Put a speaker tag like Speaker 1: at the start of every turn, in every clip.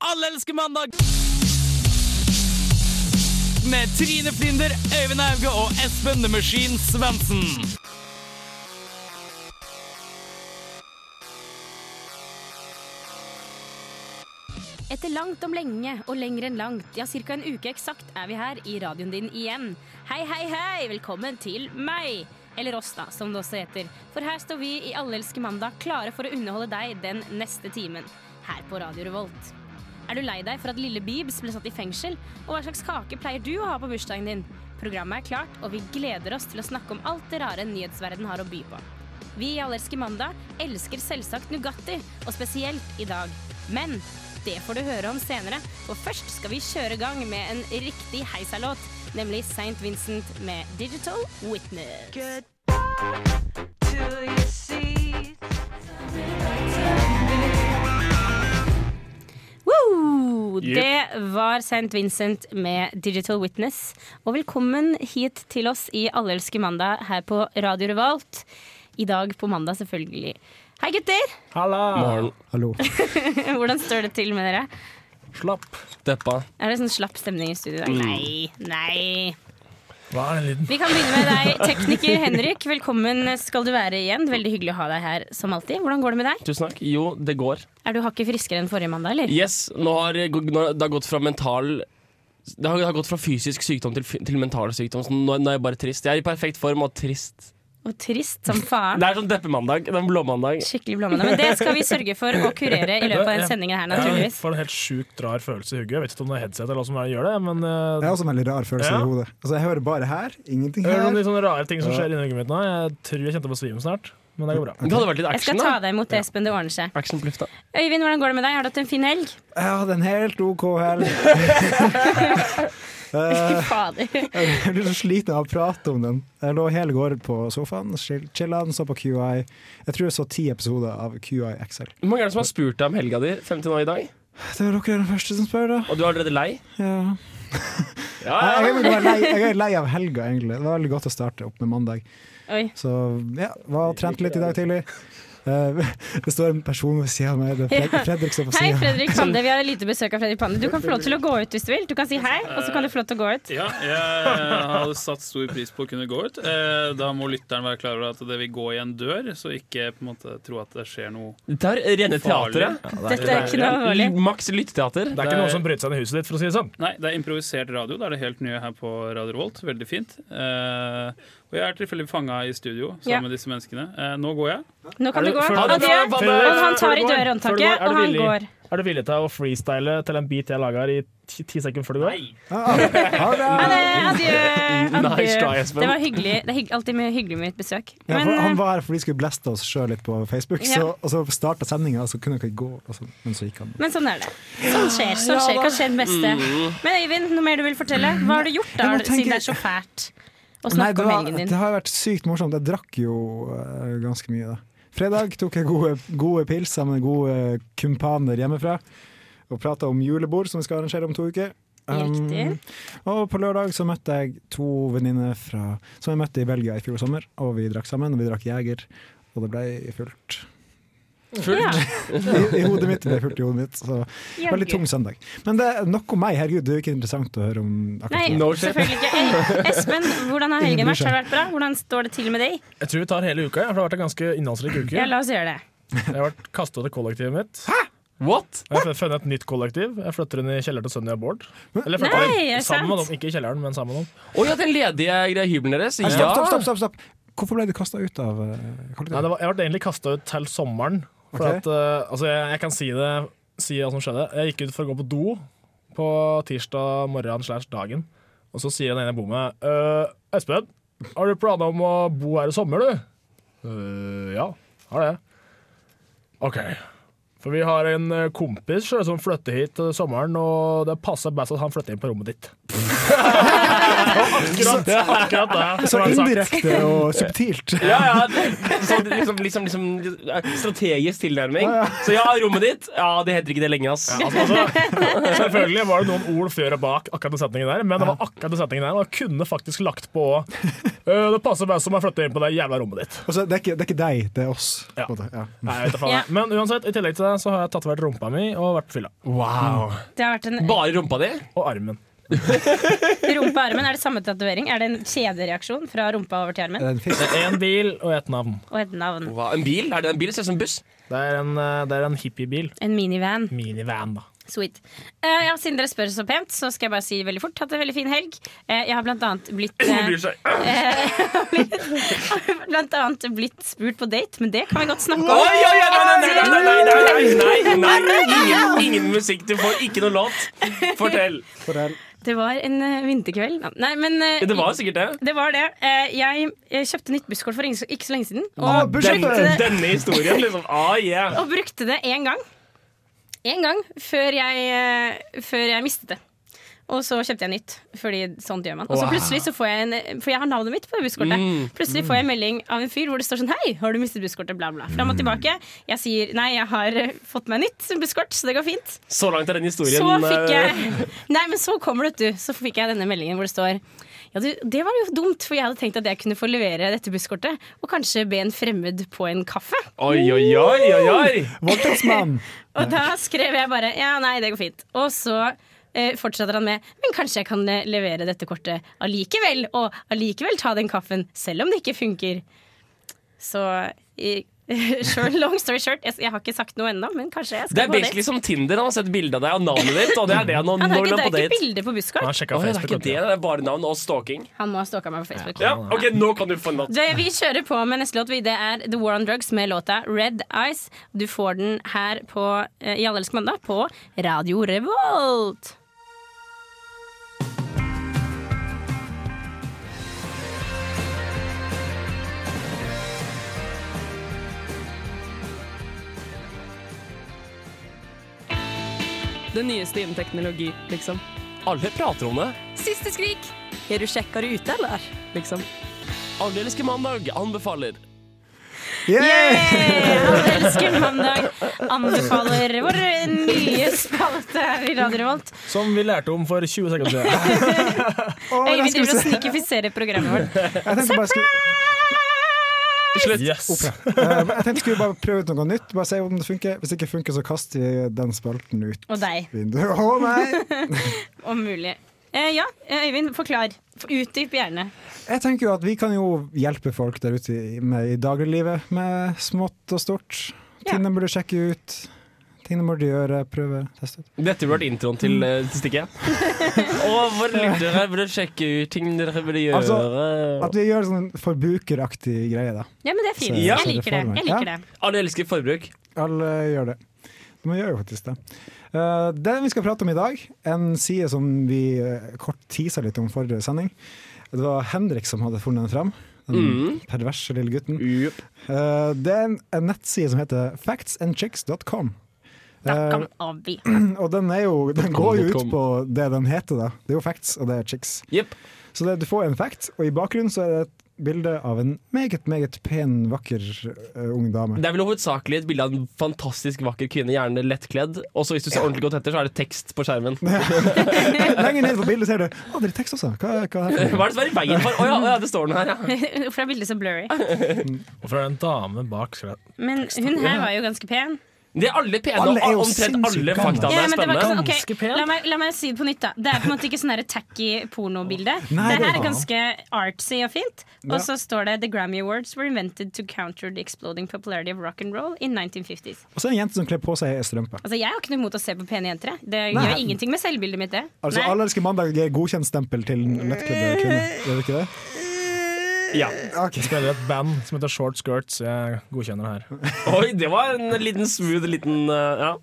Speaker 1: Alle elsker mandag! Med Trine Flinder, Øyvind Hauge og Espen The Machine Svendsen.
Speaker 2: Etter langt om lenge og lenger enn langt, ja ca. en uke eksakt, er vi her i radioen din igjen. Hei, hei, hei! Velkommen til meg! Eller oss, da, som det også heter. For her står vi i Allelske mandag klare for å underholde deg den neste timen. Her på Radio Revolt. Er du lei deg for at lille Bibs ble satt i fengsel? Og hva slags kake pleier du å ha på bursdagen din? Programmet er klart, og vi gleder oss til å snakke om alt det rare nyhetsverden har å by på. Vi i Allerske mandag elsker selvsagt Nugatti, og spesielt i dag. Men det får du høre om senere, for først skal vi kjøre i gang med en riktig heisalåt, nemlig St. Vincent med Digital Witness. Woo! Det var St. Vincent med Digital Witness. Og velkommen hit til oss i Allelske mandag her på Radio Revolt. I dag på mandag, selvfølgelig. Hei, gutter!
Speaker 3: Halla!
Speaker 4: Hallo.
Speaker 2: Hvordan står det til med dere?
Speaker 3: Slapp.
Speaker 1: Deppa.
Speaker 2: Er det sånn slapp stemning i studio i dag? Nei, nei.
Speaker 3: Hva er en liten
Speaker 2: Vi kan begynne med deg, tekniker Henrik. Velkommen skal du være igjen. Veldig hyggelig å ha deg her som alltid. Hvordan går det med deg?
Speaker 1: Tusen takk. Jo, det går.
Speaker 2: Er du hakket friskere enn forrige mandag, eller?
Speaker 1: Yes, nå har nå, det har gått fra mental det har, det har gått fra fysisk sykdom til, f- til mental sykdom. Så nå, nå er jeg bare trist. Jeg er i perfekt form og trist.
Speaker 2: Og trist som faen.
Speaker 1: Det er sånn deppemandag. Den blåmandag.
Speaker 2: Skikkelig blåmandag. Men det skal vi sørge for å kurere i løpet av denne sendingen her,
Speaker 3: Jeg
Speaker 2: naturligvis.
Speaker 3: får en helt sjukt rar følelse i hodet. Jeg vet ikke om det er headset eller hva som gjør det, men eh,
Speaker 4: Jeg har også en veldig rar følelse
Speaker 3: Ja.
Speaker 4: i hodet. Altså, jeg hører bare her, ingenting
Speaker 3: jeg hører noen
Speaker 4: her.
Speaker 3: litt sånne rare ting som skjer inni hodet mitt nå. Jeg tror jeg kjente på svime snart, men det går bra.
Speaker 1: Det hadde vært litt
Speaker 2: Jeg skal
Speaker 1: action,
Speaker 2: ta
Speaker 1: da.
Speaker 2: deg imot det, Espen. Det ordner seg.
Speaker 1: Action på lufta.
Speaker 2: Øyvind, hvordan går det med deg? Har du hatt en fin helg?
Speaker 4: Jeg hadde en helt OK helg.
Speaker 2: Fy
Speaker 4: Eh,
Speaker 2: fader.
Speaker 4: jeg blir så sliten av å prate om den. Jeg lå hele gården på sofaen, chill- chilla, så på QI. Jeg tror jeg så ti episoder av QI XL.
Speaker 1: Hvor mange er det som har spurt deg om helga di frem til nå i dag?
Speaker 4: Det var dere den første som spør, da.
Speaker 1: Og du er allerede lei?
Speaker 4: Ja.
Speaker 1: Ja,
Speaker 4: Jeg, jeg, er lei, jeg er lei av helga, egentlig. Det var veldig godt å starte opp med mandag.
Speaker 2: Oi.
Speaker 4: Så ja, var og trent litt i dag tidlig. Eh, det står en person ved sida av meg. Det er Fred- Fredrik står på
Speaker 2: Hei,
Speaker 4: sida.
Speaker 2: Fredrik Pande. Vi har lite besøk av Fredrik Pande. Du kan få lov til å gå ut hvis du vil. Du kan si hei, og så kan du få lov til å gå ut.
Speaker 5: Ja, jeg hadde satt stor pris på å kunne gå ut. Eh, Da må lytteren være klar over at det vil gå i en dør, så ikke på en måte tro at det skjer noe
Speaker 1: Dette er rene teateret.
Speaker 2: Dette er ikke noe alvorlig.
Speaker 1: Maks lytteteater.
Speaker 3: Det er ikke noen som bryter seg inn i huset ditt, for å si det sånn.
Speaker 5: Nei, det er improvisert radio. Da er det helt nye her på Radio Revolt. Veldig fint. Eh, Og jeg er tilfeldig fanga i studio sammen
Speaker 2: Ja.
Speaker 5: med disse menneskene. Eh, Nå går jeg.
Speaker 2: Nå kan
Speaker 3: Er
Speaker 2: du
Speaker 3: du-
Speaker 2: gå.
Speaker 3: Før du-
Speaker 2: Adjø.
Speaker 3: Før du-
Speaker 2: Og han
Speaker 3: før
Speaker 2: tar i
Speaker 3: du går- før du går, er
Speaker 2: dørhåndtaket,
Speaker 3: du
Speaker 2: og han
Speaker 3: villig-
Speaker 2: går.
Speaker 3: Er du villig til å freestyle til en beat jeg lager i ti, ti sekunder før du går?
Speaker 4: Ah, ha det!
Speaker 2: Ha det! Adjø. Adjø.
Speaker 1: Nice try, Espen.
Speaker 2: Det var hyggelig. Det er hygg- alltid mye hyggelig med et besøk.
Speaker 4: Ja,
Speaker 2: Men
Speaker 4: for han
Speaker 2: eh,
Speaker 4: var her fordi vi skulle blaste oss sjøl litt på Facebook, så,
Speaker 2: Ja.
Speaker 4: og så starta sendinga, og så kunne vi ikke gå. Og så, men så gikk han.
Speaker 2: men sånn er det. Sånn skjer. sånn skjer, Hva skjer det beste? Men Øyvind, noe mer du vil fortelle? Hva har du gjort da,
Speaker 4: Jeg må tenke-
Speaker 2: siden det er så fælt å
Speaker 4: Nei,
Speaker 2: snakke
Speaker 4: det,
Speaker 2: om
Speaker 4: var,
Speaker 2: helgen
Speaker 4: det
Speaker 2: din?
Speaker 4: har vært sykt morsomt. Jeg drakk jo eh, ganske mye, da. Fredag tok jeg gode, gode pils sammen med gode eh, kumpaner hjemmefra, og prata om julebord som vi skal arrangere om to uker. Um,
Speaker 2: Riktig.
Speaker 4: og på lørdag så møtte jeg to venninner fra- som jeg møtte i Belgia i fjor sommer, og vi drakk sammen, og vi drakk Jeger, og det ble fullt.
Speaker 2: Ja,
Speaker 4: I, i hodet mitt, det ble fullt i hodet mitt. Så Veldig
Speaker 2: jaggu.
Speaker 4: tung søndag. Men det er nok om meg. Herregud, det er jo ikke interessant å høre om akkurat
Speaker 2: Nei,
Speaker 4: det.
Speaker 1: No shit.
Speaker 2: selvfølgelig ikke. Ei, Espen, hvordan har helgen vært? Har det vært bra? Hvordan står det til med deg?
Speaker 3: Jeg tror vi tar hele uka, ja, for det har vært en ganske innholdsrik uke.
Speaker 2: Ja, la oss gjøre det.
Speaker 3: Jeg har vært kastet ut av kollektivet mitt.
Speaker 1: What?
Speaker 3: Jeg har funnet et nytt kollektiv. Jeg flytter inn i kjelleren til Sonja Bård. Eller
Speaker 2: Nei,
Speaker 3: flytter inn
Speaker 2: er det
Speaker 3: sammen med
Speaker 2: sant?
Speaker 3: dem, ikke i kjelleren, men sammen med dem.
Speaker 1: Å ja, den ledige greia hybelen deres.
Speaker 4: Nei,
Speaker 1: Ja.
Speaker 4: Stopp, stopp, stopp, stopp, stopp. Hvorfor ble du kasta ut av uh,
Speaker 3: Nei,
Speaker 4: kollektivet?
Speaker 3: det var, jeg ble egentlig kasta ut til sommeren. For
Speaker 4: Ok.
Speaker 3: at, eh, altså, jeg, jeg kan si det Si hva som skjedde. Jeg gikk ut for å gå på do på tirsdag morgen slash dagen. Og så sier den ene jeg bor med, «Øh, Espen, har du planer om å bo her i sommer, du? «Øh, ja, har det. OK. For vi har en eh, kompis sjø, som flytter hit til sommeren, og det passer best at han flytter inn på rommet ditt. Akkurat, akkurat det.
Speaker 4: Så
Speaker 3: som er sagt.
Speaker 4: indirekte og subtilt.
Speaker 1: Ja, ja. Så liksom, liksom, liksom strategisk tilnærming. Så ja, rommet ditt Ja, det heter ikke det lenge, ass.
Speaker 3: Altså, altså, selvfølgelig var det noen ord før og bak akkurat den setningen der, men det var akkurat den setningen der, og jeg kunne faktisk lagt på «Øh, Det passer bare som jeg flytter inn på det jævla rommet ditt.
Speaker 4: Og så, det, er ikke, det er ikke deg, det er oss. på en måte. Ja.
Speaker 3: Nei, jeg vet da faen.
Speaker 2: Ja.
Speaker 3: jeg. Men uansett, i tillegg til det så har jeg tatovert rumpa mi og vært på fylla. Mm.
Speaker 1: Wow.
Speaker 2: Det har vært en
Speaker 1: Bare rumpa di?
Speaker 3: Og armen.
Speaker 2: rumpe armen. Er det samme tatovering? Er det en kjedereaksjon fra rumpa over til
Speaker 4: Er
Speaker 2: armen?
Speaker 4: det en fisk?
Speaker 3: En bil og et navn.
Speaker 2: Og et navn.
Speaker 1: Wow. En bil? Er det en bil? Ser ut som en buss.
Speaker 3: Det er en, eh, det er en hippiebil.
Speaker 2: En minivan.
Speaker 3: Minivan, da.
Speaker 2: Sweet. Eh, ja, siden dere spør så pent, så skal jeg bare si veldig fort hatt en veldig fin helg. Eh, jeg har blant annet blitt eh, Blant annet blitt spurt på date, men det kan vi godt snakke
Speaker 1: Oi,
Speaker 2: om.
Speaker 1: oi, oi, nei, nei, nei, nei, nei, nei, nei, nei, nei. Ingen, ingen musikk. Du får ikke noe låt. Fortell.
Speaker 4: Fortell.
Speaker 2: Det var en eh, vinterkveld. Nei, men eh,
Speaker 1: Det var sikkert det.
Speaker 2: det var det. Eh, jeg, jeg kjøpte nytt busskort for ikke så- ikke så lenge siden.
Speaker 4: Ah,
Speaker 2: Og,
Speaker 1: Den,
Speaker 4: bussjåfør!
Speaker 1: denne historien, liksom. Ah, yeah.
Speaker 2: og brukte det én gang. Én gang før jeg, eh, før jeg mistet det. Og så kjøpte jeg nytt, fordi sånt gjør man. Og så plutselig så får jeg en For jeg har navnet mitt på busskortet.
Speaker 1: Mm.
Speaker 2: Plutselig får jeg en melding av en fyr hvor det står sånn Hei, har du mistet busskortet? Bla, bla.
Speaker 1: Mm.
Speaker 2: Fram og tilbake. Jeg sier nei, jeg har eh, fått meg nytt busskort, så det går fint.
Speaker 1: Så langt er den historien
Speaker 2: Så fikk
Speaker 1: eh,
Speaker 2: jeg Nei, men så kommer det, vet du. Så fikk jeg denne meldingen hvor det står ja, du, Det var jo dumt, for jeg hadde tenkt at jeg kunne få levere dette busskortet og kanskje be en fremmed på en kaffe.
Speaker 1: Oi, oi, oi, oi, oi.
Speaker 4: Voldtektsmann!
Speaker 2: Og da skrev jeg bare ja, nei, det går fint. Og så eh, fortsetter han med men kanskje jeg kan eh, levere dette kortet allikevel, og allikevel ta den kaffen, selv om det ikke funker. Så i, short, long story short, jeg, jeg har ikke sagt noe ennå, men kanskje jeg
Speaker 1: Det
Speaker 2: skal
Speaker 1: er
Speaker 2: på date.
Speaker 1: basically som Tinder. Han har sett bilde av deg og navnet ditt, og det er det han når
Speaker 2: Han har
Speaker 1: når
Speaker 2: ikke,
Speaker 1: han er på
Speaker 2: det er
Speaker 1: date.
Speaker 2: ikke bilder på busskort.
Speaker 3: Han
Speaker 1: Å,
Speaker 3: sjekka
Speaker 1: ja, det er ikke
Speaker 3: Facebook.
Speaker 1: det, det er bare navn og stalking.
Speaker 2: Han må ha stalka meg på Facebook.
Speaker 1: Ja, ok, Nå kan du få en låt.
Speaker 2: Det, vi kjører på med neste låt. vi. Det er The War on Drugs med låta Red Eyes. Du får den her på, eh, i Allelsk mandag på Radio Revolt.
Speaker 6: Det nyeste innen teknologi, liksom.
Speaker 1: Alle prater om det.
Speaker 6: Siste skrik! Har du sjekka det ute, eller? Liksom.
Speaker 1: Allelske mandag anbefaler.
Speaker 4: Yeah!
Speaker 2: Allelske mandag anbefaler vår nye spalte her i Radio Revolt.
Speaker 3: Som vi lærte om for 20 sekunder siden.
Speaker 4: Å, der
Speaker 2: Øyvind
Speaker 4: skal vi
Speaker 2: driver og
Speaker 4: se.
Speaker 2: snikifiserer programmet vårt.
Speaker 4: Jeg tenkte bare skulle,
Speaker 1: Slutt.
Speaker 3: Yes.
Speaker 4: eh, jeg tenkte skulle bare prøve ut noe nytt. Bare se om det funker. Hvis det ikke funker, så kaster jeg den spalten ut
Speaker 2: Og deg,
Speaker 4: vinduet. Å nei!
Speaker 2: om mulig. Eh, ja, eh, Øyvind, forklar. Utdyp gjerne.
Speaker 4: Jeg tenker jo at vi kan jo hjelpe folk der ute i, med, i dagliglivet med smått og stort.
Speaker 2: Ja.
Speaker 4: Ting de burde sjekke ut. Ting de burde gjøre, prøve, teste ut.
Speaker 1: Dette burde vært introen til, eh, til stikket. Og våre lyttere burde sjekke ut ting dere burde gjøre.
Speaker 4: At vi gjør sånn forbrukeraktig greie, da.
Speaker 2: Ja, men det er fint.
Speaker 4: Så-
Speaker 2: Jeg liker det. Jeg liker det.
Speaker 1: Alle elsker forbruk.
Speaker 4: Alle gjør det. De gjør jo faktisk det. Eh, det vi skal prate om i dag, en side som vi eh, kort tisa litt om forrige sending. Det var Henrik som hadde funnet den fram. Den
Speaker 1: Mm.
Speaker 4: perverse lille gutten.
Speaker 1: Yep.
Speaker 4: Eh, det er en, en nettside som heter factsandchicks.com.
Speaker 2: Da kan
Speaker 4: Eh,
Speaker 2: Abi.
Speaker 4: og den, er jo, den går jo
Speaker 1: .com.
Speaker 4: ut på det den heter, da. Det er jo facts, og det er chicks. Så det, du får en fact, og i bakgrunnen så er det et bilde av en meget, meget pen, vakker eh, ung dame.
Speaker 1: Det er vel hovedsakelig et bilde av en fantastisk vakker kvinne, gjerne lettkledd. Og så hvis du ser ordentlig godt etter, så er det tekst på skjermen. Hva
Speaker 4: Lenger ned på bildet ser du Å, det er tekst også! Hva, hva er det her
Speaker 1: er det
Speaker 4: for noe?
Speaker 1: som er i veien for? Å ja, å ja, det står den her, ja.
Speaker 2: Hvorfor er bildet så blurry?
Speaker 3: Hvorfor er det en dame bak skrevet?
Speaker 2: Men hun her var jo ganske pen.
Speaker 1: De er alle pene,
Speaker 4: Alle er jo
Speaker 1: og omtrent alle
Speaker 4: sinnssykt gamle.
Speaker 1: faktaene
Speaker 2: Ja,
Speaker 1: er
Speaker 2: men det var
Speaker 1: spennende.
Speaker 2: ikke sånn,
Speaker 3: Ganske
Speaker 2: ok,
Speaker 3: pent.
Speaker 2: la, meg, la meg si det på nytt, da. Det er på en måte ikke sånn der tacky pornobilde. Det
Speaker 4: Nei,
Speaker 2: her
Speaker 4: det-
Speaker 2: er ganske artsy og fint.
Speaker 4: Ja.
Speaker 2: Og så står det The Grammy Awards were invented to counter the exploding popularity of rock and roll in 1950s.
Speaker 4: Og så er det en jente som kler på seg ei strømpe.
Speaker 2: Altså, Jeg har ikke noe imot å se på pene jenter. jeg. Det
Speaker 4: Nei.
Speaker 2: gjør ingenting med selvbildet mitt, det.
Speaker 4: Altså,
Speaker 2: Nei.
Speaker 4: Allerske mandag er godkjentstempel til lettkledde kvinner, gjør det ikke det?
Speaker 1: Ja.
Speaker 4: Ok.
Speaker 3: Spiller et band som heter Short Skirts. Jeg godkjenner det her.
Speaker 1: Oi, det var en liten smooth liten eh, ja.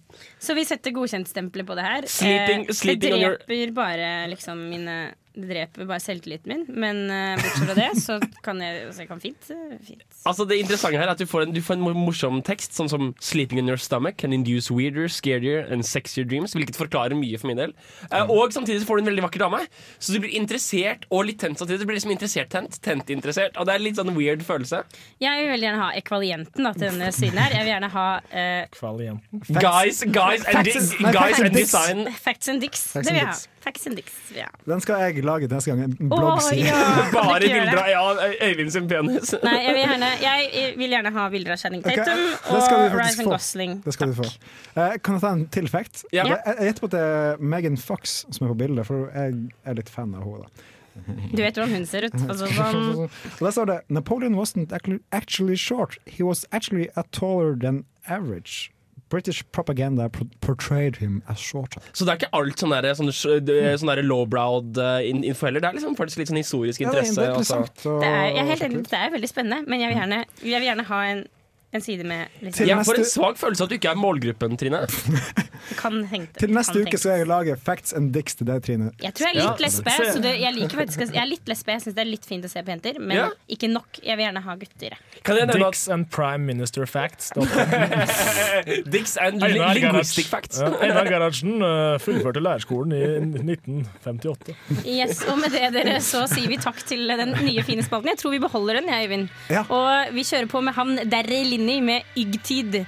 Speaker 2: Så vi setter godkjentstempelet på det her.
Speaker 1: Sleeping-
Speaker 2: Eh,
Speaker 1: sleeping on
Speaker 2: det
Speaker 1: your-
Speaker 2: dreper bare liksom mine Det dreper bare selvtilliten min, men eh, bortsett fra det så kan jeg, så jeg kan fint, eh, fint.
Speaker 1: Altså Det interessante her er at du får en, du får en mor- morsom tekst, sånn som 'Sleeping in your stomach can induce weirder, scarier and sexier dreams', hvilket forklarer mye for min del. Eh,
Speaker 4: Mm.
Speaker 1: og samtidig så får du en veldig vakker dame, så du blir interessert og litt tent samtidig. Du blir liksom interessert-tent, tent-interessert, og det er litt sånn weird følelse.
Speaker 2: Jeg vil veldig gjerne ha ekvalienten da, til denne siden her. Jeg vil gjerne ha eh,
Speaker 3: Kvalienten.
Speaker 1: Guys, guys, and,
Speaker 4: Facts
Speaker 1: di-
Speaker 4: and- nei,
Speaker 1: guys
Speaker 4: facts and
Speaker 1: and
Speaker 4: dicks.
Speaker 1: design.
Speaker 2: Facts and Dicks.
Speaker 4: Facts
Speaker 2: det vil
Speaker 4: and
Speaker 2: jeg ha.
Speaker 4: dicks.
Speaker 2: Facts and Dicks vil jeg ha.
Speaker 4: Den skal jeg lage neste gang. En
Speaker 2: Åh,
Speaker 4: bloggside.
Speaker 2: ja, kan du
Speaker 1: Bare
Speaker 2: ikke gjøre
Speaker 1: bilder
Speaker 2: det?
Speaker 1: av ja, Øyvind sin penis.
Speaker 2: Nei, jeg vil gjerne, jeg vil gjerne ha bilder av Channing
Speaker 4: Ok,
Speaker 2: Tatum
Speaker 4: det skal vi
Speaker 2: og
Speaker 4: faktisk
Speaker 2: Ryson
Speaker 4: få.
Speaker 2: Gosling.
Speaker 4: Det skal du få. Eh, kan jeg ta en til fact?
Speaker 1: Ja.
Speaker 4: Jeg jeg gjetter på at det er Megan Fox som er på bildet, for jeg er litt fan av henne. da.
Speaker 2: Du vet hvordan hun ser ut.
Speaker 4: Mhm.
Speaker 2: Altså, sånn,
Speaker 4: Og der står det Napoleon wasn't actu- actually short, he was actually a taller than average. British propaganda pro- portrayed him as shorter.
Speaker 1: Så det er ikke alt sånn derre sånn, sånn der lowbrowed eh, in- info heller. Det er liksom faktisk litt sånn historisk
Speaker 4: Ja, det er
Speaker 1: interesse. altså. også.
Speaker 4: interessant. å-
Speaker 2: det, er, jeg er helt
Speaker 4: å
Speaker 2: enig,
Speaker 4: sjekke ut.
Speaker 2: det er veldig spennende, men jeg vil gjerne, jeg vil gjerne ha en, en side med liksom,
Speaker 1: Jeg får en
Speaker 4: Neste-
Speaker 1: svak følelse av at du ikke er målgruppen, Trine.
Speaker 2: det kan henge
Speaker 4: Til neste
Speaker 2: kan
Speaker 4: uke
Speaker 2: tenke.
Speaker 4: skal jeg lage facts and dicks til deg, Trine.
Speaker 2: Jeg tror jeg er litt
Speaker 1: Ja.
Speaker 2: lesbe, så det, jeg liker faktisk Jeg er litt lesbe, jeg syns det er litt fint å se på jenter, men
Speaker 1: Ja.
Speaker 2: ikke nok. Jeg vil gjerne ha gutter. jeg.
Speaker 1: Kan jeg nevne at
Speaker 3: Dicks and prime minister facts. Det er
Speaker 1: Dicks and li-
Speaker 3: Einar
Speaker 1: linguistic
Speaker 3: Gerhardsen-
Speaker 1: facts.
Speaker 3: Ja, Einar Gerhardsen eh, fullførte lærerskolen i 1958.
Speaker 2: Yes, og med det dere så sier vi takk til den nye fine spalten. Jeg tror vi beholder den, jeg, Øyvind.
Speaker 4: Ja.
Speaker 2: Og vi kjører på med han Derre Linni med Yggtid.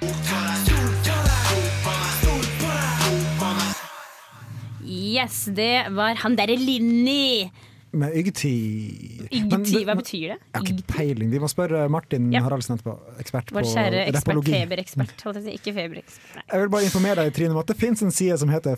Speaker 2: Yes, det var han derre Linni.
Speaker 4: Med yggtid. Men
Speaker 2: Yggtid,
Speaker 4: det-
Speaker 2: hva
Speaker 4: men-
Speaker 2: betyr det?
Speaker 4: Jeg har
Speaker 2: Yggtid?
Speaker 4: ikke peiling. Vi må spørre Martin
Speaker 2: Ja.
Speaker 4: Haraldsen etterpå, ekspert på
Speaker 2: Vår kjære ekspert,
Speaker 4: repologi.
Speaker 2: feberekspert. Holdt jeg på å si, Ikke feberekspert. Nei.
Speaker 4: Jeg vil bare informere deg, Trine, om at det fins en side som heter
Speaker 2: Gjør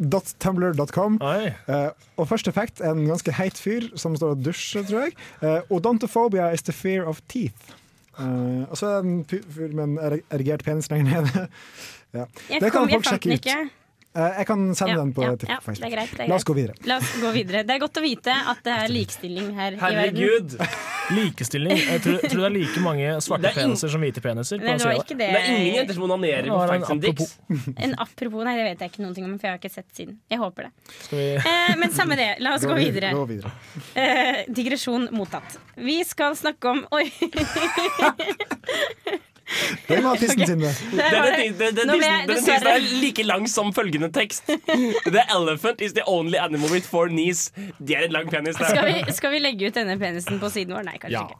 Speaker 4: factsanddicks.tumblr.com.
Speaker 3: Nei.
Speaker 4: Eh, og første fact er en ganske heit fyr som står og dusjer, tror jeg. Eh, Odontophobia is the fear of teeth. Eh, og så er det en py- fyr med en er- erigert penis lenger nede.
Speaker 2: Jeg,
Speaker 4: Det kan
Speaker 2: kom, jeg
Speaker 4: folk
Speaker 2: fant
Speaker 4: sjekke
Speaker 2: den
Speaker 4: ut.
Speaker 2: ikke.
Speaker 4: Eh, jeg kan sende
Speaker 2: Ja,
Speaker 4: den på
Speaker 2: ja,
Speaker 4: til
Speaker 2: ja,
Speaker 4: Facebook.
Speaker 2: det er greit, det er
Speaker 4: La oss
Speaker 2: greit.
Speaker 4: gå videre.
Speaker 2: La oss gå videre. Det er godt å vite at det er likestilling her i verden.
Speaker 1: Herregud!
Speaker 3: Likestilling. Jeg tror, jeg tror det er like mange svarte
Speaker 1: Det er ingen-
Speaker 3: peniser som hvite peniser. på
Speaker 2: Nei,
Speaker 3: den
Speaker 2: det var
Speaker 3: siden
Speaker 2: ikke
Speaker 1: Det
Speaker 2: det.
Speaker 1: er ingen jenter som onanerer på
Speaker 3: Ja, men
Speaker 1: Facts and Dicks.
Speaker 3: apropos.
Speaker 2: En apropos, nei, det vet jeg ikke noen ting om, for jeg har ikke sett siden. Jeg håper det.
Speaker 3: der. Skal vi
Speaker 2: Eh, men samme det, la oss gå videre.
Speaker 4: Gå videre.
Speaker 2: Eh, digresjon mottatt. Vi skal snakke om Oi!
Speaker 4: Det var tissen sin, det.
Speaker 2: Der
Speaker 1: Denne
Speaker 2: var det.
Speaker 1: tis- den- den
Speaker 2: Nå ble
Speaker 1: tissen
Speaker 2: jeg
Speaker 1: denne tissen
Speaker 2: dessverre
Speaker 1: er like lang som følgende tekst. The elephant is the only animal with four knees. De er en lang penis,
Speaker 2: skal
Speaker 1: det.
Speaker 2: vi, skal vi legge ut denne penisen på siden vår? Nei, kanskje
Speaker 1: Ja.
Speaker 2: ikke.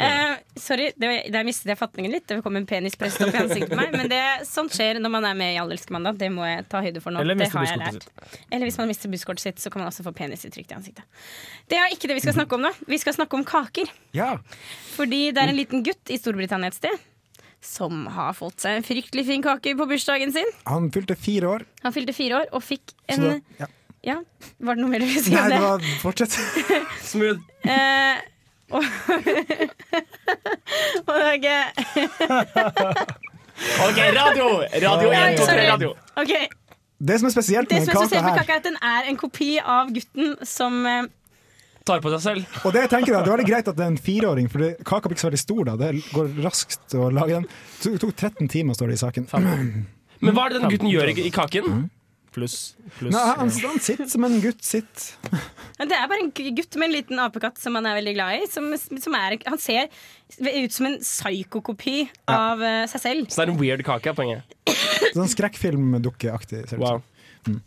Speaker 2: Eh, sorry, det var, der mistet jeg fatningen litt. Det kom en penis presset opp i ansiktet på meg. Men det, sånt skjer når man er med i Allelskemandag. Det må jeg ta høyde for nå.
Speaker 3: Eller
Speaker 2: det
Speaker 3: mister
Speaker 2: har jeg
Speaker 3: busskortet
Speaker 2: lært. Eller hvis man mister busskortet sitt, så kan man også få penisuttrykk i ansiktet. Det er ikke det vi skal snakke om nå. Vi skal snakke om kaker.
Speaker 4: Ja.
Speaker 2: Fordi det er en liten gutt i Storbritannia et sted som har fått seg en fryktelig fin kake på bursdagen sin.
Speaker 4: Han fylte fire år.
Speaker 2: Han fylte fire år og fikk en
Speaker 4: Så da, ja.
Speaker 2: Ja, var det noe mer du ville si
Speaker 4: Nei,
Speaker 2: om det?
Speaker 4: det var fortsett.
Speaker 1: Smooth.
Speaker 2: Eh, og, og
Speaker 1: OK, radio! Radio
Speaker 2: Ja,
Speaker 1: 1, 2, 3,
Speaker 2: sorry.
Speaker 1: radio.
Speaker 2: OK.
Speaker 4: Det som er spesielt
Speaker 2: Det
Speaker 4: med
Speaker 2: som er
Speaker 4: den
Speaker 2: spesielt med
Speaker 4: kaka
Speaker 2: kaka,
Speaker 4: her,
Speaker 2: er at den er en kopi av gutten som eh,
Speaker 1: Tar på seg selv.
Speaker 4: og det jeg tenker da, det var litt greit at det er en fireåring, for det- kaka blir ikke så veldig stor da. Det går raskt å lage den. Det tok 13 timer, står det i saken.
Speaker 1: Men hva er det den gutten gjør i, i kaken?
Speaker 3: pluss
Speaker 4: Nei, han,
Speaker 3: pluss
Speaker 4: han sitter som en gutt sitter.
Speaker 2: Det er bare en gutt med en liten apekatt som han er veldig glad i. Som, som er, han ser ut som en psykokopi av eh, seg selv.
Speaker 1: Så det er en weird kake, er poenget.
Speaker 4: Sånn skrekkfilmdukkeaktig. ser det ut som.
Speaker 1: Wow.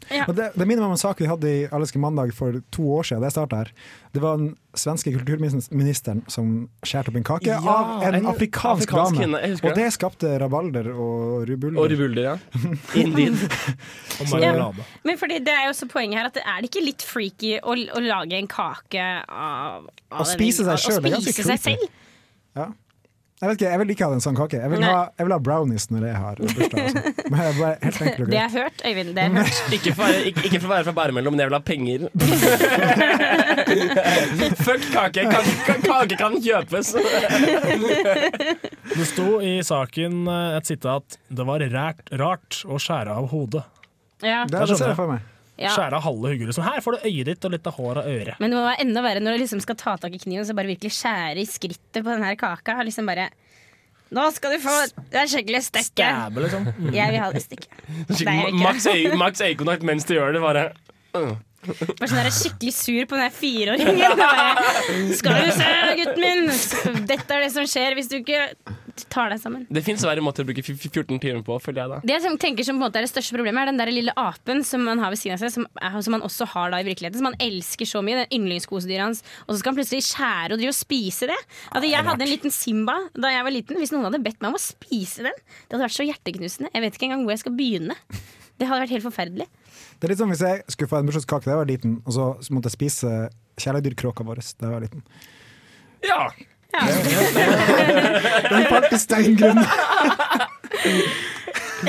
Speaker 2: Ja.
Speaker 4: Og Det, det minner meg om en sak vi hadde i Alleske mandag for to år siden. Det startet her. Det var den svenske kulturministeren som skjærte opp en kake
Speaker 1: Ja,
Speaker 4: av en,
Speaker 1: en
Speaker 4: afrikansk,
Speaker 1: afrikansk
Speaker 4: dame.
Speaker 1: kvinne, jeg husker
Speaker 4: og det skapte rabalder og rubuller.
Speaker 1: Og rubulder, ja. Indeed.
Speaker 3: og marmelade.
Speaker 2: Men fordi det er jo også poenget her at det er det ikke litt freaky å, å lage en kake av, av
Speaker 4: Å spise seg
Speaker 2: av- å
Speaker 4: selv, det er ganske
Speaker 2: spise seg
Speaker 4: creepy.
Speaker 2: selv?
Speaker 4: Jeg vet ikke, jeg vil ikke ha en sånn kake. Jeg vil,
Speaker 2: Nei.
Speaker 4: ha, jeg vil ha brownies når jeg har bursdag. og sånt. Men jeg er bare helt enkelt og
Speaker 2: Det
Speaker 4: greit.
Speaker 2: er hørt, Øyvind. Det er hørt.
Speaker 1: Ikke for, å være- ikke, ikke for å være fra Bæremellom, men jeg vil ha penger. Fuck kake. Kan, kan, kake kan kjøpes.
Speaker 3: Det sto i saken eh, et sitat Det var rært, rart å skjære av hodet.
Speaker 2: Ja.
Speaker 4: Det,
Speaker 1: sånn,
Speaker 4: det ser jeg for meg.
Speaker 2: Ja.
Speaker 3: Skjære av halve hodet. Liksom. Her får du øyet ditt og litt av håret og øret.
Speaker 2: Men det må være enda verre når du liksom skal ta tak i kniven Så bare virkelig skjære i skrittet på denne kaka. og Liksom bare Nå skal du få det er skikkelig stekke.
Speaker 3: Dæbe, liksom.
Speaker 2: Jeg vil ha det stykket. Nei, jeg vil ikke.
Speaker 1: Maks øy- maks øyekontakt mens du gjør det, bare.
Speaker 2: Bare sånn der skikkelig sur på den der fireåringen. Og bare, Skal du se, gutten min! Dette er det som skjer hvis du ikke tar deg sammen.
Speaker 1: Det fins verre måter å bruke f- f- 14 timer på, føler jeg da.
Speaker 2: Det jeg tenker som på en måte er det største problemet, er den der lille apen som man har ved siden av seg, som, er, som man også har da i virkeligheten, som man elsker så mye, den yndlingskosedyret hans, og så skal han plutselig skjære og drive og spise det. Altså,
Speaker 3: Ah,
Speaker 2: jeg hadde en liten Simba da jeg var liten. Hvis noen hadde bedt meg om å spise den, det hadde vært så hjerteknusende. Jeg vet ikke engang hvor jeg skal begynne. Det hadde vært helt forferdelig.
Speaker 4: Det er litt som hvis jeg skulle få en bursdagskake da jeg var liten, og så måtte jeg spise kjæledyrkråka vår da jeg var liten.
Speaker 1: Ja.
Speaker 4: Den falt i steingrunn!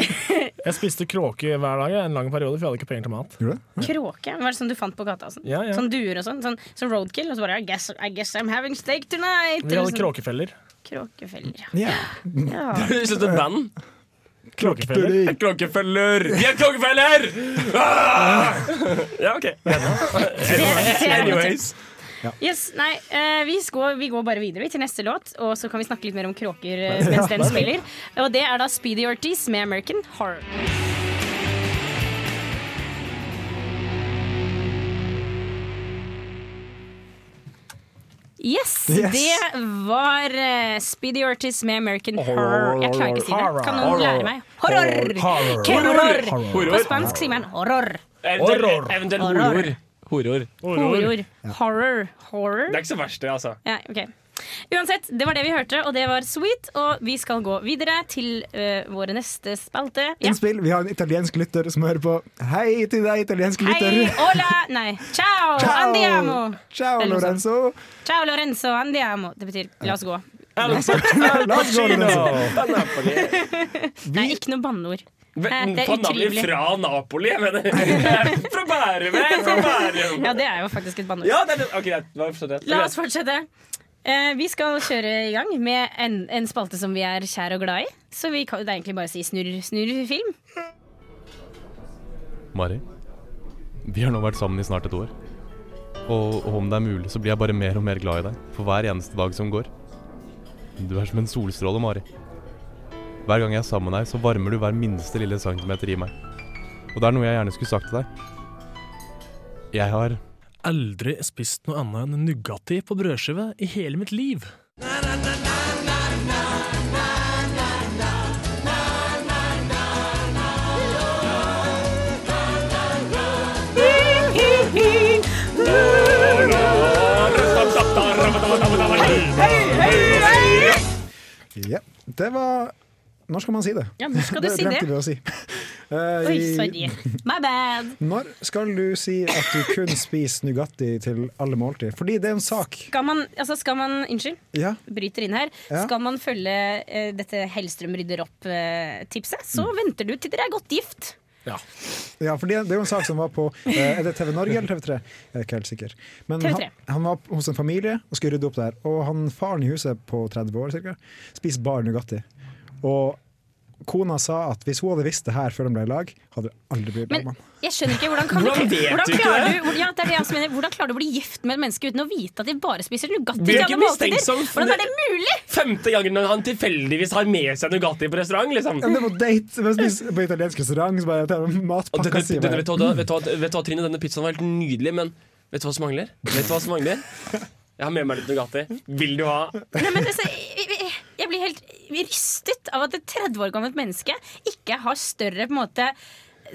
Speaker 3: Jeg spiste kråke hver dag jeg, en lang periode, for jeg hadde ikke penger til mat.
Speaker 4: Gjorde du det?
Speaker 2: Kråke? Var det sånn du fant på gata? og Sånn,
Speaker 3: Ja, ja.
Speaker 2: sånn duer og sånn? Sånn, sånn roadkill? Og så bare I guess, I guess I'm having steak tonight!
Speaker 3: Vi
Speaker 2: eller
Speaker 3: hadde
Speaker 2: sånn.
Speaker 3: kråkefeller.
Speaker 2: Kråkefeller, ja.
Speaker 4: Ja.
Speaker 2: ja.
Speaker 1: Hvis det er et band
Speaker 3: Kråkefeller.
Speaker 1: Klokkefeller! Vi er klokkefeller! Ah! Ja, OK. Anyways.
Speaker 2: Yes, nei, eh, vi, skal, vi går bare videre vi, til neste låt, og så kan vi snakke litt mer om kråker eh, mens den spiller. Og det er da Speedy Ortiz med American Horror. Yes,
Speaker 4: Yes.
Speaker 2: det var eh, Speedy Ortiz med American Horror. Jeg klarer ikke å si det. Kan noen
Speaker 3: Horror.
Speaker 2: lære meg? Horror! Horror! horror. På
Speaker 1: Horror.
Speaker 2: spansk sier man horror.
Speaker 1: Eventuelt eventuelt horor. Horor.
Speaker 3: Horor.
Speaker 2: Horror. Horror. Horror.
Speaker 1: Det er ikke så verst, det, altså.
Speaker 2: Ja, ok. Uansett, det var det vi hørte, og det var sweet. Og vi skal gå videre til eh, våre neste spalte. Ja.
Speaker 4: Innspill. Vi har en italiensk lytter som hører på. Hei til deg, italiensk lytter!
Speaker 2: Hei, hola Nei, ciao, andiamo! sånn.
Speaker 4: Ciao,
Speaker 2: Eller noe
Speaker 4: Lorenzo!
Speaker 2: Ciao, Lorenzo, andiamo. Det betyr la oss gå.
Speaker 4: La oss gå, Lorenzo!
Speaker 2: Nei, ikke noe banneord. Nei, Eh, det er
Speaker 1: Fra Napoli,
Speaker 2: utrivelig.
Speaker 1: fra Napoli, jeg mener. Fra Bærum, jeg er fra Bærum.
Speaker 2: Ja, det er jo faktisk et banneord.
Speaker 1: Ja, det er det. OK, greit. Hva er forstått rett?
Speaker 2: La oss fortsette. Eh, vi skal kjøre i gang med en, en spalte som vi er kjær og glad i. Så vi kan, det er egentlig bare å si snurr, snurr film.
Speaker 7: Mari, vi har nå vært sammen i snart et år. Og, og om det er mulig, så blir jeg bare mer og mer glad i deg for hver eneste dag som går. Du er som en solstråle, Mari. Hver gang jeg er sammen med deg, så varmer du hver minste lille centimeter i meg. Og det er noe jeg gjerne skulle sagt til deg. Jeg har
Speaker 3: Aldri spist noe annet enn Nugatti på brødskive i hele mitt liv.
Speaker 4: Ja, det var Når skal man si det?
Speaker 2: Ja, nå skal du si
Speaker 4: glemte
Speaker 2: det.
Speaker 4: vi å si. Eh,
Speaker 2: Oi,
Speaker 4: i-
Speaker 2: sorry. My bad.
Speaker 4: Når skal du si at du kun spiser Nugatti til alle måltider? Fordi det er en sak.
Speaker 2: Skal man, altså skal man Unnskyld.
Speaker 4: Ja.
Speaker 2: bryter inn her.
Speaker 4: Ja.
Speaker 2: Skal man følge eh, dette Hellstrøm rydder opp-tipset, så
Speaker 4: Mm.
Speaker 2: venter du til dere er godt gift.
Speaker 4: Ja, for det, det er jo en sak som var på eh, Er det TV Norge eller TV3? Jeg er ikke helt sikker. Men
Speaker 2: TV3.
Speaker 4: Han, han var hos en familie og skulle rydde opp der. Og han faren i huset på 30 år cirka, spiser bare Nugatti. Og kona sa at hvis hun hadde visst det her før de ble i lag, hadde hun aldri blitt
Speaker 2: Men
Speaker 4: lag med ham.
Speaker 2: jeg skjønner ikke hvordan, kan
Speaker 1: Hvordan vet
Speaker 2: hvordan
Speaker 1: du ikke
Speaker 2: klarer
Speaker 1: det?
Speaker 2: Du, hvor- ja, det er det jeg også mener. Hvordan klarer du å bli gift med et menneske uten å vite at de bare spiser Nugatti?
Speaker 1: Blir
Speaker 2: til
Speaker 1: ikke
Speaker 2: alle måltider?
Speaker 1: mistenksom for
Speaker 2: Hvordan er
Speaker 1: det-
Speaker 2: det mulig?
Speaker 1: Femte gangen han tilfeldigvis har med seg Nugatti på restaurant, liksom.
Speaker 4: Ja, men det var date! Vi spiser på italiensk restaurant, så bare tar de
Speaker 1: Og denne,
Speaker 4: matpakka si
Speaker 1: denne, vet, du, hva- vet, du, hva- vet du hva, Trine, denne pizzaen var helt nydelig, men vet du hva som mangler? Vet du hva som mangler? Jeg har med meg litt Nugatti. Vil du ha?
Speaker 2: Nei, men, altså, jeg, jeg- jeg blir helt rystet av at et 30 år gammelt menneske ikke har større på en måte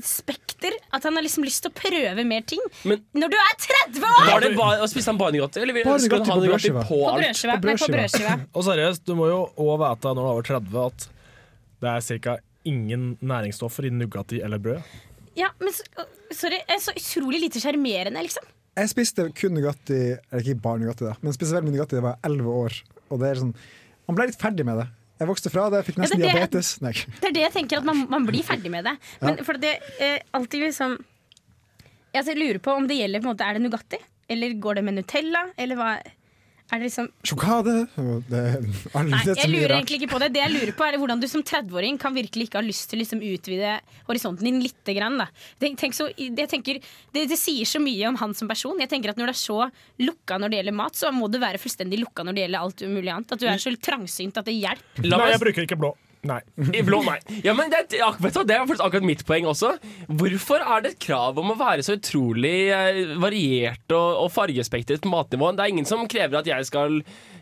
Speaker 2: spekter. At han har liksom lyst til å prøve mer ting.
Speaker 1: Men-
Speaker 2: Når du er 30 år!
Speaker 1: Var det bare, og spiste han bare Nugatti, eller
Speaker 4: Bare
Speaker 1: skulle han ha
Speaker 4: Nugatti
Speaker 1: Nugatti
Speaker 4: på
Speaker 1: på
Speaker 4: brødskiva.
Speaker 2: På
Speaker 1: alt?
Speaker 2: brødskiva.
Speaker 4: På
Speaker 2: Nei, på
Speaker 4: brødskiva.
Speaker 2: brødskiva.
Speaker 3: Og seriøst, du må jo òg vite når du er over 30 at det er ca. ingen næringsstoffer i Nugatti eller brød.
Speaker 2: Ja, men så, sorry, jeg er så utrolig lite sjarmerende, liksom.
Speaker 4: Jeg spiste kun Nugatti Eller ikke bare Nugatti, da, men spiste veldig mye Nugatti da jeg var 11 år. Og det er sånn Man ble litt ferdig med det. Jeg vokste fra det, jeg fikk
Speaker 2: det
Speaker 4: nesten
Speaker 2: er det-
Speaker 4: diabetes. Nei.
Speaker 2: Det er det jeg tenker, at man, man blir ferdig med det. Men for det eh, alltid liksom Jeg altså, lurer på om det gjelder på en måte, Er det Nugatti? Eller går det med Nutella? Eller hva Er det liksom
Speaker 4: Sjokade og det, alle,
Speaker 2: Nei,
Speaker 4: det er
Speaker 2: jeg
Speaker 4: så mye
Speaker 2: lurer
Speaker 4: rart.
Speaker 2: egentlig ikke på det. Det jeg lurer på er hvordan du som 30-åring kan virkelig ikke ha lyst til å liksom utvide horisonten din litt. Grann, da. Tenk, tenk så, jeg tenker, det, det sier så mye om han som person. Jeg tenker at Når du er så lukka når det gjelder mat,
Speaker 4: Mm.
Speaker 2: så må du være fullstendig lukka når det gjelder alt mulig annet. At du er så trangsynt at det hjelper.
Speaker 1: La
Speaker 3: Nei,
Speaker 1: meg
Speaker 3: jeg bruker ikke blå. Nei.
Speaker 1: I blå, nei. Ja, men det, er- ak- vet du, hva, det er faktisk akkurat mitt poeng også. Hvorfor er det et krav om å være så utrolig eh, variert og, og fargespektret på matnivået? Det er ingen som krever at jeg skal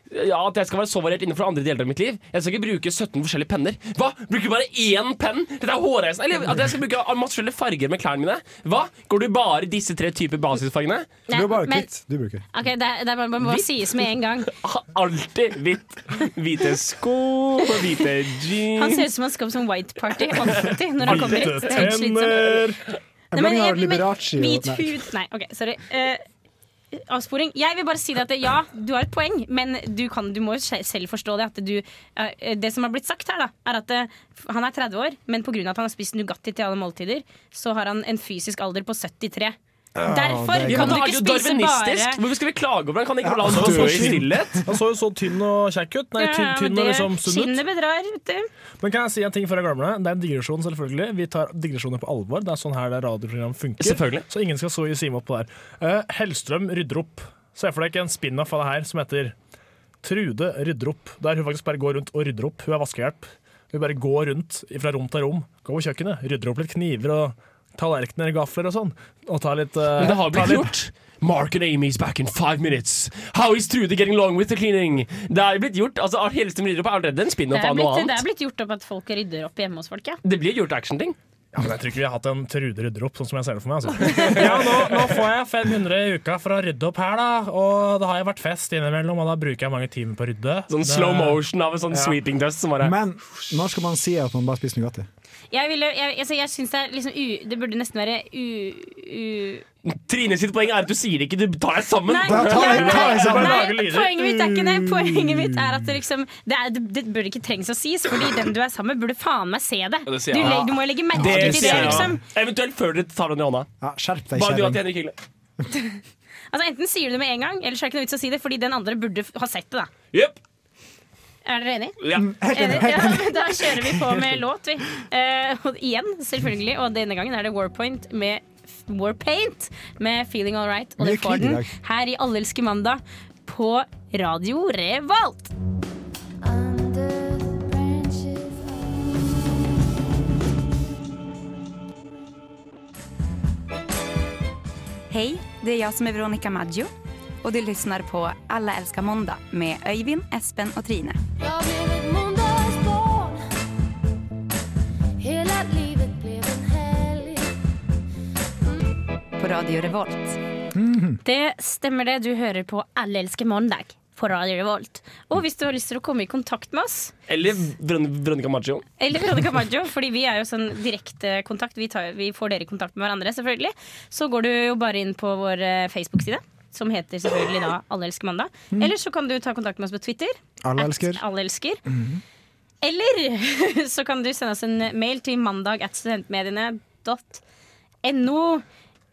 Speaker 1: ja, at jeg skal være så variert innenfor andre deler av mitt liv. Jeg skal ikke bruke 17 forskjellige penner. Hva? Bruker du bare én penn? Dette er hårreisende. Eller at jeg skal bruke masse forskjellige farger med klærne mine. Hva? Går du bare i disse tre typer basisfargene?
Speaker 4: Du er bare kvitt. Du bruker.
Speaker 2: Ok, det, det må må bare sies med en gang.
Speaker 1: Ha- Alltid hvitt. Hvite sko, hvite jeans
Speaker 2: Han ser ut som han skal på sånn white party alltid når han kommer hit.
Speaker 3: Hvite
Speaker 2: Det er helt slitsomt.
Speaker 3: tenner.
Speaker 4: En blanding av Liberace og
Speaker 2: Hvit
Speaker 4: nei.
Speaker 2: hud Nei, OK, sorry. Eh, avsporing. Jeg vil bare si det at ja, du har et poeng, men du, kan, du må jo se- selv forstå det. At du, eh, det som har blitt sagt her, da, er at eh, han er 30 år, men pga. at han har spist Nugatti til alle måltider, så har han en fysisk alder på 73. Derfor
Speaker 4: det er
Speaker 2: kan du
Speaker 1: Han er
Speaker 2: ikke
Speaker 1: jo
Speaker 2: spise
Speaker 1: darwinistisk.
Speaker 2: bare
Speaker 1: Hvorfor skal vi klage over han? Kan ikke la
Speaker 3: Ja,
Speaker 1: han
Speaker 3: dø
Speaker 1: dø
Speaker 3: i
Speaker 1: i stillhet?
Speaker 3: Han så jo så tynn og kjekk ut. Nei,
Speaker 2: Ja,
Speaker 3: tynn,
Speaker 2: men
Speaker 3: tynn og
Speaker 2: det-
Speaker 3: liksom sunn ut.
Speaker 2: Skinnet bedrar, vet du.
Speaker 3: Men kan jeg si en ting før jeg glemmer det? Det er en digresjon, selvfølgelig. Vi tar digresjoner på alvor. Det er sånn her det radioprogram funker.
Speaker 1: Selvfølgelig.
Speaker 3: Så ingen skal så i sime opp på det her. Eh, Hellstrøm rydder opp. Se for deg ikke en spin-off av det her som heter Trude rydder opp. Der hun faktisk bare går rundt og rydder opp. Hun er vaskehjelp. Hun bare går rundt fra rom til rom. Går på kjøkkenet, rydder opp litt kniver og tallerkener og gafler og sånn. Og tar litt eh,
Speaker 1: Men det har
Speaker 3: tar
Speaker 1: blitt
Speaker 3: litt-
Speaker 1: gjort. Mark and Amy's back in five minutes. How is Trude getting along with the cleaning? Det er blitt gjort. altså Hellstrøm rydder opp er allerede en
Speaker 2: Det
Speaker 1: spin-off
Speaker 2: er,
Speaker 1: av noe
Speaker 2: blitt, det er
Speaker 1: annet.
Speaker 2: blitt gjort opp at folk rydder opp hjemme hos folk, ja.
Speaker 1: Det blir gjort actionting.
Speaker 3: Ja, men jeg tror ikke vi har hatt en Trude rydder opp, sånn som jeg ser det for meg. Altså. Ja, nå, nå får jeg 500 i uka for å rydde opp her, da. Og da har jeg vært fest innimellom, og da bruker jeg mange timer på å rydde.
Speaker 1: Sånn
Speaker 3: Det-
Speaker 1: slow motion av en sånn sweeping dust som bare
Speaker 4: Men når skal man si at man bare spiser Nugatti?
Speaker 2: Jeg, ville, jeg, altså, jeg synes det er liksom u, Det burde nesten være u... u
Speaker 1: Trine sitt poeng er at du sier det ikke, du tar deg sammen.
Speaker 4: ta- ta- ta- ta-
Speaker 2: nei,
Speaker 3: lage lyder.
Speaker 2: poenget mitt er ikke det. Poenget mitt er at det liksom Det, er, det, det burde ikke trengs å sies, fordi den du er sammen med, burde faen meg se det.
Speaker 5: Ja, det
Speaker 2: Du,
Speaker 5: sier jeg.
Speaker 2: leg- du må legge merke
Speaker 1: Det
Speaker 2: til det,
Speaker 1: sier jeg.
Speaker 2: liksom.
Speaker 1: Eventuelt før dere tar den i hånda.
Speaker 4: Ja, skjerp deg,
Speaker 1: Bare du og
Speaker 4: kjerring.
Speaker 1: Henrik Hylle.
Speaker 2: Altså, enten sier du det med en gang, eller så er det ikke noe vits å si det, fordi den andre burde f- ha sett det, da.
Speaker 1: Yep.
Speaker 2: Er dere enige?
Speaker 1: Ja.
Speaker 4: Mm, Helt enig.
Speaker 2: Enig. Ja, men da kjører vi på med låt, vi. Eh, og igjen, selvfølgelig. Og denne gangen er det Warpoint med f- Warpaint med 'Feeling Alright'. Og
Speaker 4: Mye
Speaker 2: dere får
Speaker 4: knid i
Speaker 2: den
Speaker 4: dag.
Speaker 2: her i Allelske mandag på Radio Revolt.
Speaker 8: Under the branches
Speaker 9: Hej, det är jag som är Veronica Maggio och du lyssnar på Alla älskar måndag med Öyvind, Espen och Trine.
Speaker 8: Jag blev ett måndagsbarn Hela livet blev en helg
Speaker 9: På Radio Revolt.
Speaker 2: Det stemmer det. Du hører på Allelske mandag på Radio Revolt. Og hvis du har lyst til å komme i kontakt med oss
Speaker 1: Eller Veron- Veronica Maggio.
Speaker 2: Eller Veronica Maggio, fordi vi er jo sånn direkte kontakt. Vi, tar, vi får dere i kontakt med hverandre, selvfølgelig. Så går du jo bare inn på vår eh, Facebook-side, som heter selvfølgelig da Alle elsker mandag. Eller så kan du ta kontakt med oss på Twitter.
Speaker 4: Mm. Alle
Speaker 2: at
Speaker 4: elsker. Mm-hmm.
Speaker 2: Alle elsker. Eller så kan du sende oss en mail til mandag at studentmediene.no.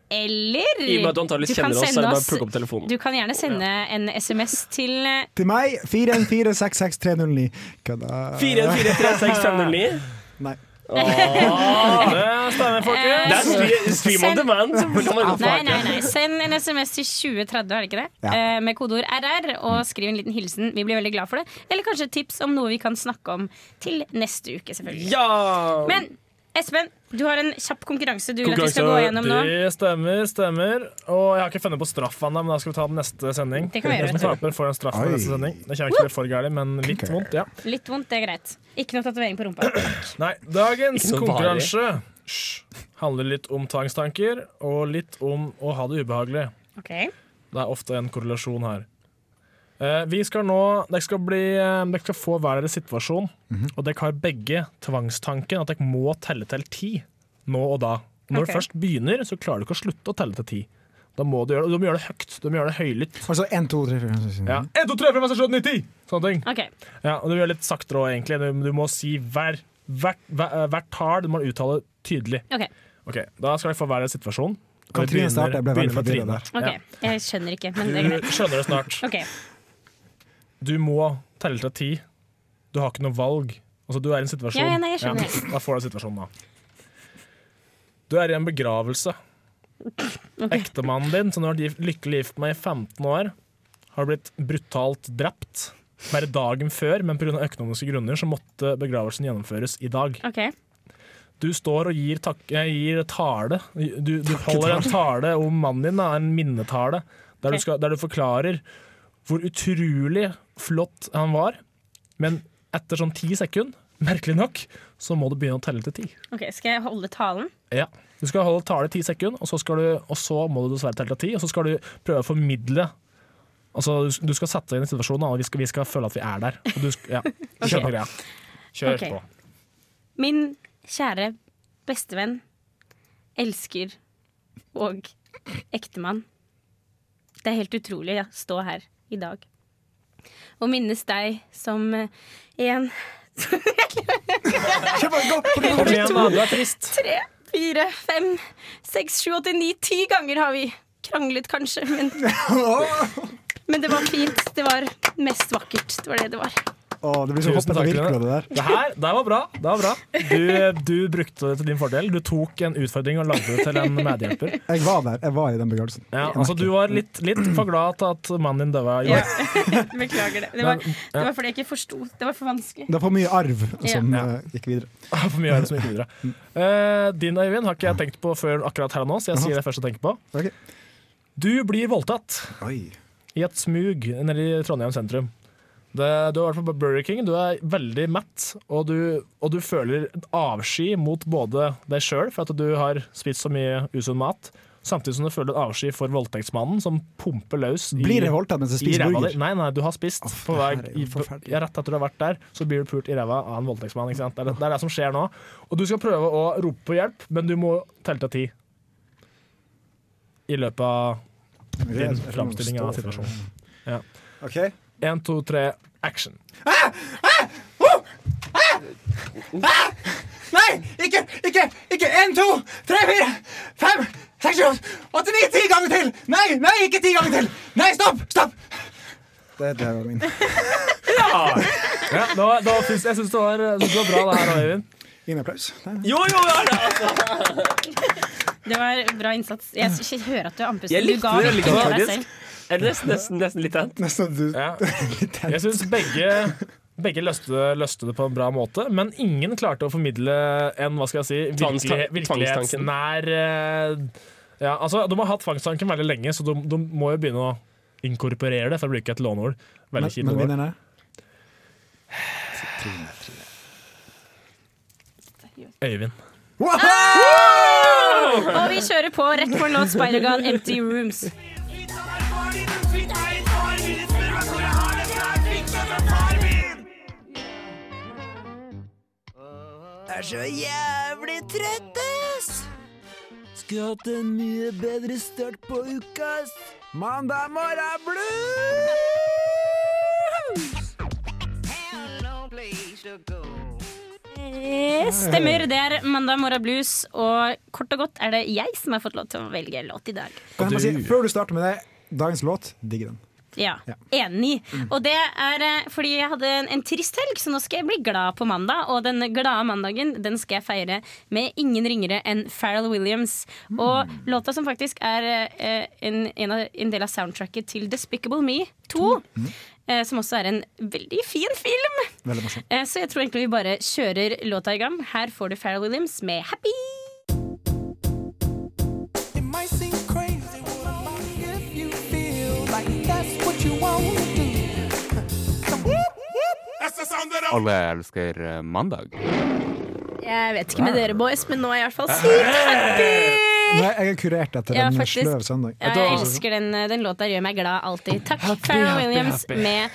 Speaker 2: Eller
Speaker 1: I og med at du antakeligvis
Speaker 2: kan
Speaker 1: kjenner oss, så er
Speaker 2: sende
Speaker 1: det bare å
Speaker 2: oss-
Speaker 1: plukke opp telefonen.
Speaker 2: Du kan gjerne sende en SMS til eh,
Speaker 4: Til meg 41466309. Kødda.
Speaker 1: 41436509.
Speaker 4: Nei.
Speaker 3: Det stemmer,
Speaker 2: eh,
Speaker 3: folkens.
Speaker 1: Det er stre- stream on
Speaker 2: Send-
Speaker 1: demand. Hvordan kan man-
Speaker 2: Nei, nei, nei. Send en SMS til 2030, er det ikke det?
Speaker 4: Ja.
Speaker 2: Eh, med kodeord RR, og skriv en liten hilsen. Vi blir veldig glad for det. Eller kanskje et tips om noe vi kan snakke om til neste uke, selvfølgelig.
Speaker 1: Ja!
Speaker 2: Men Espen, du har en kjapp konkurranse du vil at vi skal gå gjennom nå.
Speaker 3: Det stemmer, stemmer. Og jeg har ikke funnet på straff ennå, men da skal vi ta den neste sending.
Speaker 2: Det kan vi gjøre.
Speaker 3: Den som taper, får en straff på
Speaker 4: Oi.
Speaker 3: neste sending. Det kommer ikke til å bli for gærent, men litt vondt, ja.
Speaker 2: Litt vondt, det er greit. Ikke noe tatovering på rumpa.
Speaker 3: Nei, dagens
Speaker 1: Ikke noe
Speaker 3: konkurranse hysj, handler litt om tvangstanker og litt om å ha det ubehagelig.
Speaker 2: Ok,
Speaker 3: Det er ofte en korrelasjon her. Eh, vi skal nå, Dere skal, bli, eh, dere skal få hver deres situasjon,
Speaker 4: Mhm.
Speaker 3: og dere har begge tvangstanken at dere må telle til ti nå og da. Når
Speaker 2: Ok.
Speaker 3: du først begynner, så klarer du ikke å slutte å telle til ti. Da må du gjøre det, og du må gjøre det høyt. Du må gjøre det høylytt.
Speaker 4: Altså 1, 2, 3, 4, 5, 6, 7,
Speaker 3: Ja. 1, 2, 3, 4, 5, 6, 7, 8, 9, 10! Sånne ting.
Speaker 2: ok.
Speaker 3: Ja, og du gjør det litt saktere òg, egentlig. Du, du må si hver, hvert, hver, eh, hvert tall. Du må uttale tydelig.
Speaker 2: ok,
Speaker 3: Ok, Da skal dere få hver deres situasjon.
Speaker 4: Kan
Speaker 3: Vi
Speaker 4: Trine
Speaker 3: begynner-
Speaker 4: starte? Jeg ble
Speaker 3: begynner
Speaker 4: veldig
Speaker 3: med Trine.
Speaker 4: forvirret der.
Speaker 2: ok.
Speaker 3: Ja.
Speaker 2: Jeg skjønner ikke, men det er greit.
Speaker 3: Du skjønner det snart.
Speaker 2: Ok,
Speaker 3: du må telle til ti. Du har ikke noe valg. Altså, du er i en situasjon.
Speaker 2: Ja, ja, nei, jeg skjønner.
Speaker 3: Ja, da får du situasjonen, da. Du er i en begravelse. Ektemannen din, som du har vært gift- lykkelig gift med i 15 år, har blitt brutalt drept Bare dagen før, men pga. økonomiske grunner så måtte begravelsen gjennomføres i dag.
Speaker 2: Ok.
Speaker 3: Du står og gir, tak eh, gir tale. Du, du holder en tale om mannen din, da, en minnetale, der du,
Speaker 2: Ok.
Speaker 3: skal, der du forklarer hvor utrolig flott han var. Men etter sånn ti sekunder, merkelig nok, så må du begynne å telle til ti.
Speaker 2: ok, Skal jeg holde talen?
Speaker 3: Ja. Du skal holde tale i ti sekunder, og så, skal du, og så må du dessverre telle til ti. Og så skal du prøve å formidle Altså, du, du skal sette deg inn i situasjonen, og vi skal, vi skal føle at vi er der. Og du, sk- ja, skjønner greia. Kjør
Speaker 2: Ok.
Speaker 3: på.
Speaker 2: Min kjære bestevenn, elsker og ektemann. Det er helt utrolig å stå her i dag og minnes deg som eh, en,
Speaker 3: Kom igjen, da, du er trist.
Speaker 2: tre, fire, fem, seks, sju, åtte, ni, ti ganger har vi kranglet, kanskje. Men, men det var fint. Det var mest vakkert. Det var det det var.
Speaker 4: Å, det blir så
Speaker 3: Tusen
Speaker 4: hoppete
Speaker 3: takk,
Speaker 4: virkelig av det der.
Speaker 3: Det her det var bra. Det var bra. Du, du brukte det til din fordel. Du tok en utfordring og lagde det til en medhjelper.
Speaker 4: Jeg var der. Jeg var i den begravelsen.
Speaker 3: Ja, altså, du var litt, litt for glad til at mannen din døde. i går.
Speaker 2: Beklager det. Det var, det var fordi jeg ikke forsto. Det var for vanskelig.
Speaker 4: Det var for mye arv som
Speaker 3: Ja.
Speaker 4: eh, gikk videre.
Speaker 3: For mye å gjøre som gikk videre. Eh, din Øyvind har ikke jeg tenkt på før akkurat her og nå, så jeg sier det først jeg tenker på.
Speaker 4: Ok.
Speaker 3: Du blir voldtatt
Speaker 4: Oi.
Speaker 3: i et smug nede i Trondheim sentrum. Det, du har vært på Burger King, du er veldig mett, og du, og du føler en avsky mot både deg sjøl, for at du har spist så mye usunn mat, samtidig som du føler en avsky for voldtektsmannen som pumper løs i-
Speaker 4: Blir jeg voldtatt mens jeg
Speaker 3: i
Speaker 4: spiser
Speaker 3: ræva
Speaker 4: burger?
Speaker 3: di. Nei, nei, du har spist
Speaker 4: Uff,
Speaker 3: på
Speaker 4: det her
Speaker 3: vei
Speaker 4: er
Speaker 3: i,
Speaker 4: jo forferdelig.
Speaker 3: ja, Rett etter du har vært der, så blir du pult i ræva av en voldtektsmann. Ikke sant? Det, er, det- det er det som skjer nå. Og du skal prøve å rope på hjelp, men du må telle til ti. I løpet av
Speaker 4: Jeg-
Speaker 3: din
Speaker 4: jeg må
Speaker 3: framstilling av
Speaker 4: stå for
Speaker 3: situasjonen. Ja.
Speaker 4: det. Ok.
Speaker 3: Én, to, tre, action.
Speaker 10: Nei, ikke, ikke, ikke. En, to, tre, fire, fem, seks, sju, åtte, ni, ti ganger til. Nei, nei, ikke ti ganger til. Nei, stopp, stopp.
Speaker 4: Det, det var min.
Speaker 3: Ja, det var, det var, jeg syns det, var- jeg synes det var bra, det her, Øyvind.
Speaker 4: Ingen applaus. Nei.
Speaker 1: Jo, jo, ja, ja.
Speaker 2: Det var bra innsats. Jeg s- jeg hører at du er andpusten.
Speaker 1: Jeg
Speaker 2: Du
Speaker 1: likte
Speaker 2: ga
Speaker 1: det
Speaker 2: virkelig
Speaker 1: litt,
Speaker 2: av deg
Speaker 1: faktisk.
Speaker 2: selv.
Speaker 1: Er det nesten, nesten, nesten litt annet.
Speaker 4: Nesten du
Speaker 3: Ja. Jeg syns begge, begge løste, løste det på en bra måte, men ingen klarte å formidle en hva skal jeg si, virkelig,
Speaker 1: Tvangsta-
Speaker 3: virkelighetsnær eh, ja, altså, De har hatt tvangstanken veldig lenge, så de, de må jo begynne å inkorporere det, for å bruke et låneord. Veldig
Speaker 4: Men,
Speaker 3: kjipt
Speaker 4: men
Speaker 3: ord.
Speaker 4: vinneren er
Speaker 3: Øyvind.
Speaker 2: Og vi kjører på rett på en låt Spider-Gun Empty Rooms.
Speaker 4: Mandag morgen blues!
Speaker 2: Eh, Stemmer, det er Mandag morgen blues, og kort og godt er det jeg som har fått lov til å velge låt i dag.
Speaker 4: Kan jeg bare si, før du starter med det, dagens låt, digger den.
Speaker 2: Ja,
Speaker 4: Ja.
Speaker 2: Enig. Og det er eh, fordi jeg hadde en, en trist helg, så nå skal jeg bli glad på mandag. Og den glade mandagen den skal jeg feire med ingen ringere enn Pharrell Williams. Og låta som faktisk er eh, en, en, av, en del av soundtracket til Despicable Me 2, eh, som også er en veldig fin film.
Speaker 4: Veldig morsom.
Speaker 2: Eh, Så jeg tror egentlig vi bare kjører låta i gang. Her får du Pharrell Williams med 'Happy'.
Speaker 10: It might seem crazy if you feel like that's what you want to do.
Speaker 7: Alle elsker mandag.
Speaker 2: Jeg vet ikke med dere boys, men nå er jeg i hvert fall sykt happy!
Speaker 4: Nei, jeg er kurert etter
Speaker 2: Ja,
Speaker 4: en
Speaker 2: faktisk.
Speaker 4: sløv søndag.
Speaker 2: Ja, jeg
Speaker 3: altså-
Speaker 2: elsker den, eh, den låta. Gjør meg glad alltid. Takk, Pharrell Williams med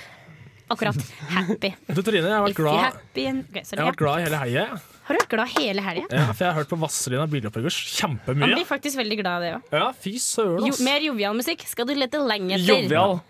Speaker 2: akkurat 'Happy'.
Speaker 3: Du, Trine, jeg har vært
Speaker 2: Ikke
Speaker 3: glad,
Speaker 2: happy and, Ok, sorry,
Speaker 3: jeg har vært
Speaker 2: ja.
Speaker 3: glad i hele heia.
Speaker 2: Har du vært glad hele helga?
Speaker 3: Ja, for jeg har hørt på Vazelina Bilopphøggers
Speaker 2: Man
Speaker 3: kjempemye.
Speaker 2: blir faktisk veldig glad av det òg.
Speaker 3: Ja, fy søren,
Speaker 2: Jo,
Speaker 3: ass.
Speaker 2: mer jovial musikk skal du lete lenge etter.
Speaker 3: Jovial.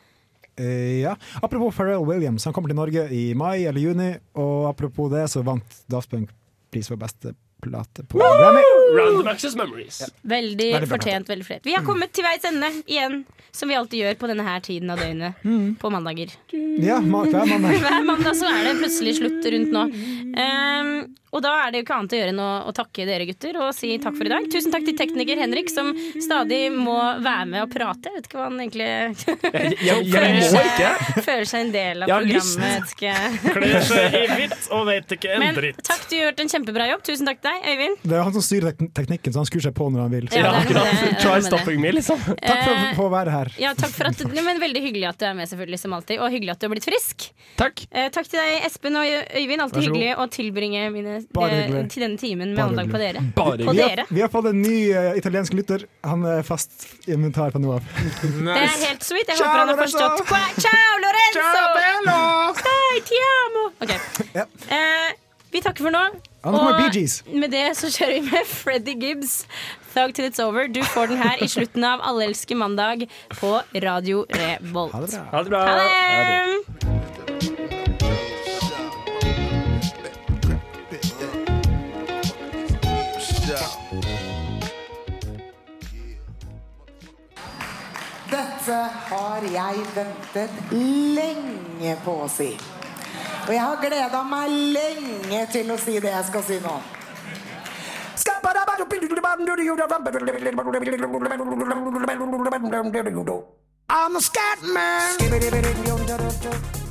Speaker 4: Eh, ja. Apropos Pharrell Williams, han kommer til Norge i mai eller juni, og apropos det, så vant Daft Punk pris for beste plate på Grammy.
Speaker 1: Random access memories.
Speaker 2: Veldig
Speaker 1: Veldig bra.
Speaker 2: fortjent. veldig fortjent Vi har kommet til veis ende igjen, som vi alltid gjør på denne her tiden av døgnet.
Speaker 3: Mm.
Speaker 2: På mandager.
Speaker 4: Ja, ma- hver mandag.
Speaker 2: Hver mandag så er det plutselig slutt rundt nå. Ehm, og da er det jo ikke annet å gjøre enn å, å takke dere gutter og si takk for i dag. Tusen takk til tekniker Henrik, som stadig må være med og prate. Jeg vet ikke hva han egentlig
Speaker 1: Jeg, jeg, jeg
Speaker 2: Føler
Speaker 1: må
Speaker 2: seg-
Speaker 1: ikke.
Speaker 2: Føler seg en del av
Speaker 1: Jeg har lyst.
Speaker 2: programmet. vet ikke.
Speaker 3: Kler seg i hvitt og vet ikke en
Speaker 2: Men
Speaker 3: dritt.
Speaker 2: takk, du har gjort en kjempebra jobb. Tusen takk til deg, Øyvind.
Speaker 4: Det er han som styrer tek teknikken, så han skrur seg på når han vil.
Speaker 2: Ja, det er noe med det.
Speaker 1: Try stopping me, liksom.
Speaker 4: Takk for, for å være her.
Speaker 2: Ja, takk for at, Nei, men Veldig hyggelig at du er med, selvfølgelig som alltid og hyggelig at du har blitt frisk.
Speaker 1: Takk
Speaker 2: eh, Takk til deg, Espen og Øy- Øyvind.
Speaker 4: Vær
Speaker 2: Alltid
Speaker 4: så god.
Speaker 2: hyggelig å tilbringe mine,
Speaker 4: Bare
Speaker 2: eh,
Speaker 4: hyggelig.
Speaker 2: til denne timen med
Speaker 4: Bare
Speaker 2: andag på
Speaker 4: hyggelig.
Speaker 2: dere.
Speaker 1: Bare
Speaker 2: på
Speaker 4: Vi har,
Speaker 2: dere.
Speaker 4: vi har fått en ny eh, italiensk lytter. Han er fast inventar fra nå av.
Speaker 2: Det er helt sweet. Jeg
Speaker 10: Ciao,
Speaker 2: håper han har
Speaker 10: Lorenzo.
Speaker 2: forstått. Qua- Ciao, Lorenzo!
Speaker 10: Ciao, bello!
Speaker 2: Dai, ti amo! Ok. Eh, vi takker for nå.
Speaker 4: Han kommer Bee Gees.
Speaker 2: med det så kjører vi med Freddy Gibbs. Thug till it's over. Du får den her i slutten av Allelske mandag på Radio Revolt.
Speaker 1: Ha det bra.
Speaker 2: Ha det!
Speaker 11: Dette har jeg ventet lenge på å si. Og jeg har gleda meg lenge til å si det jeg skal si nå. I'm a scat man.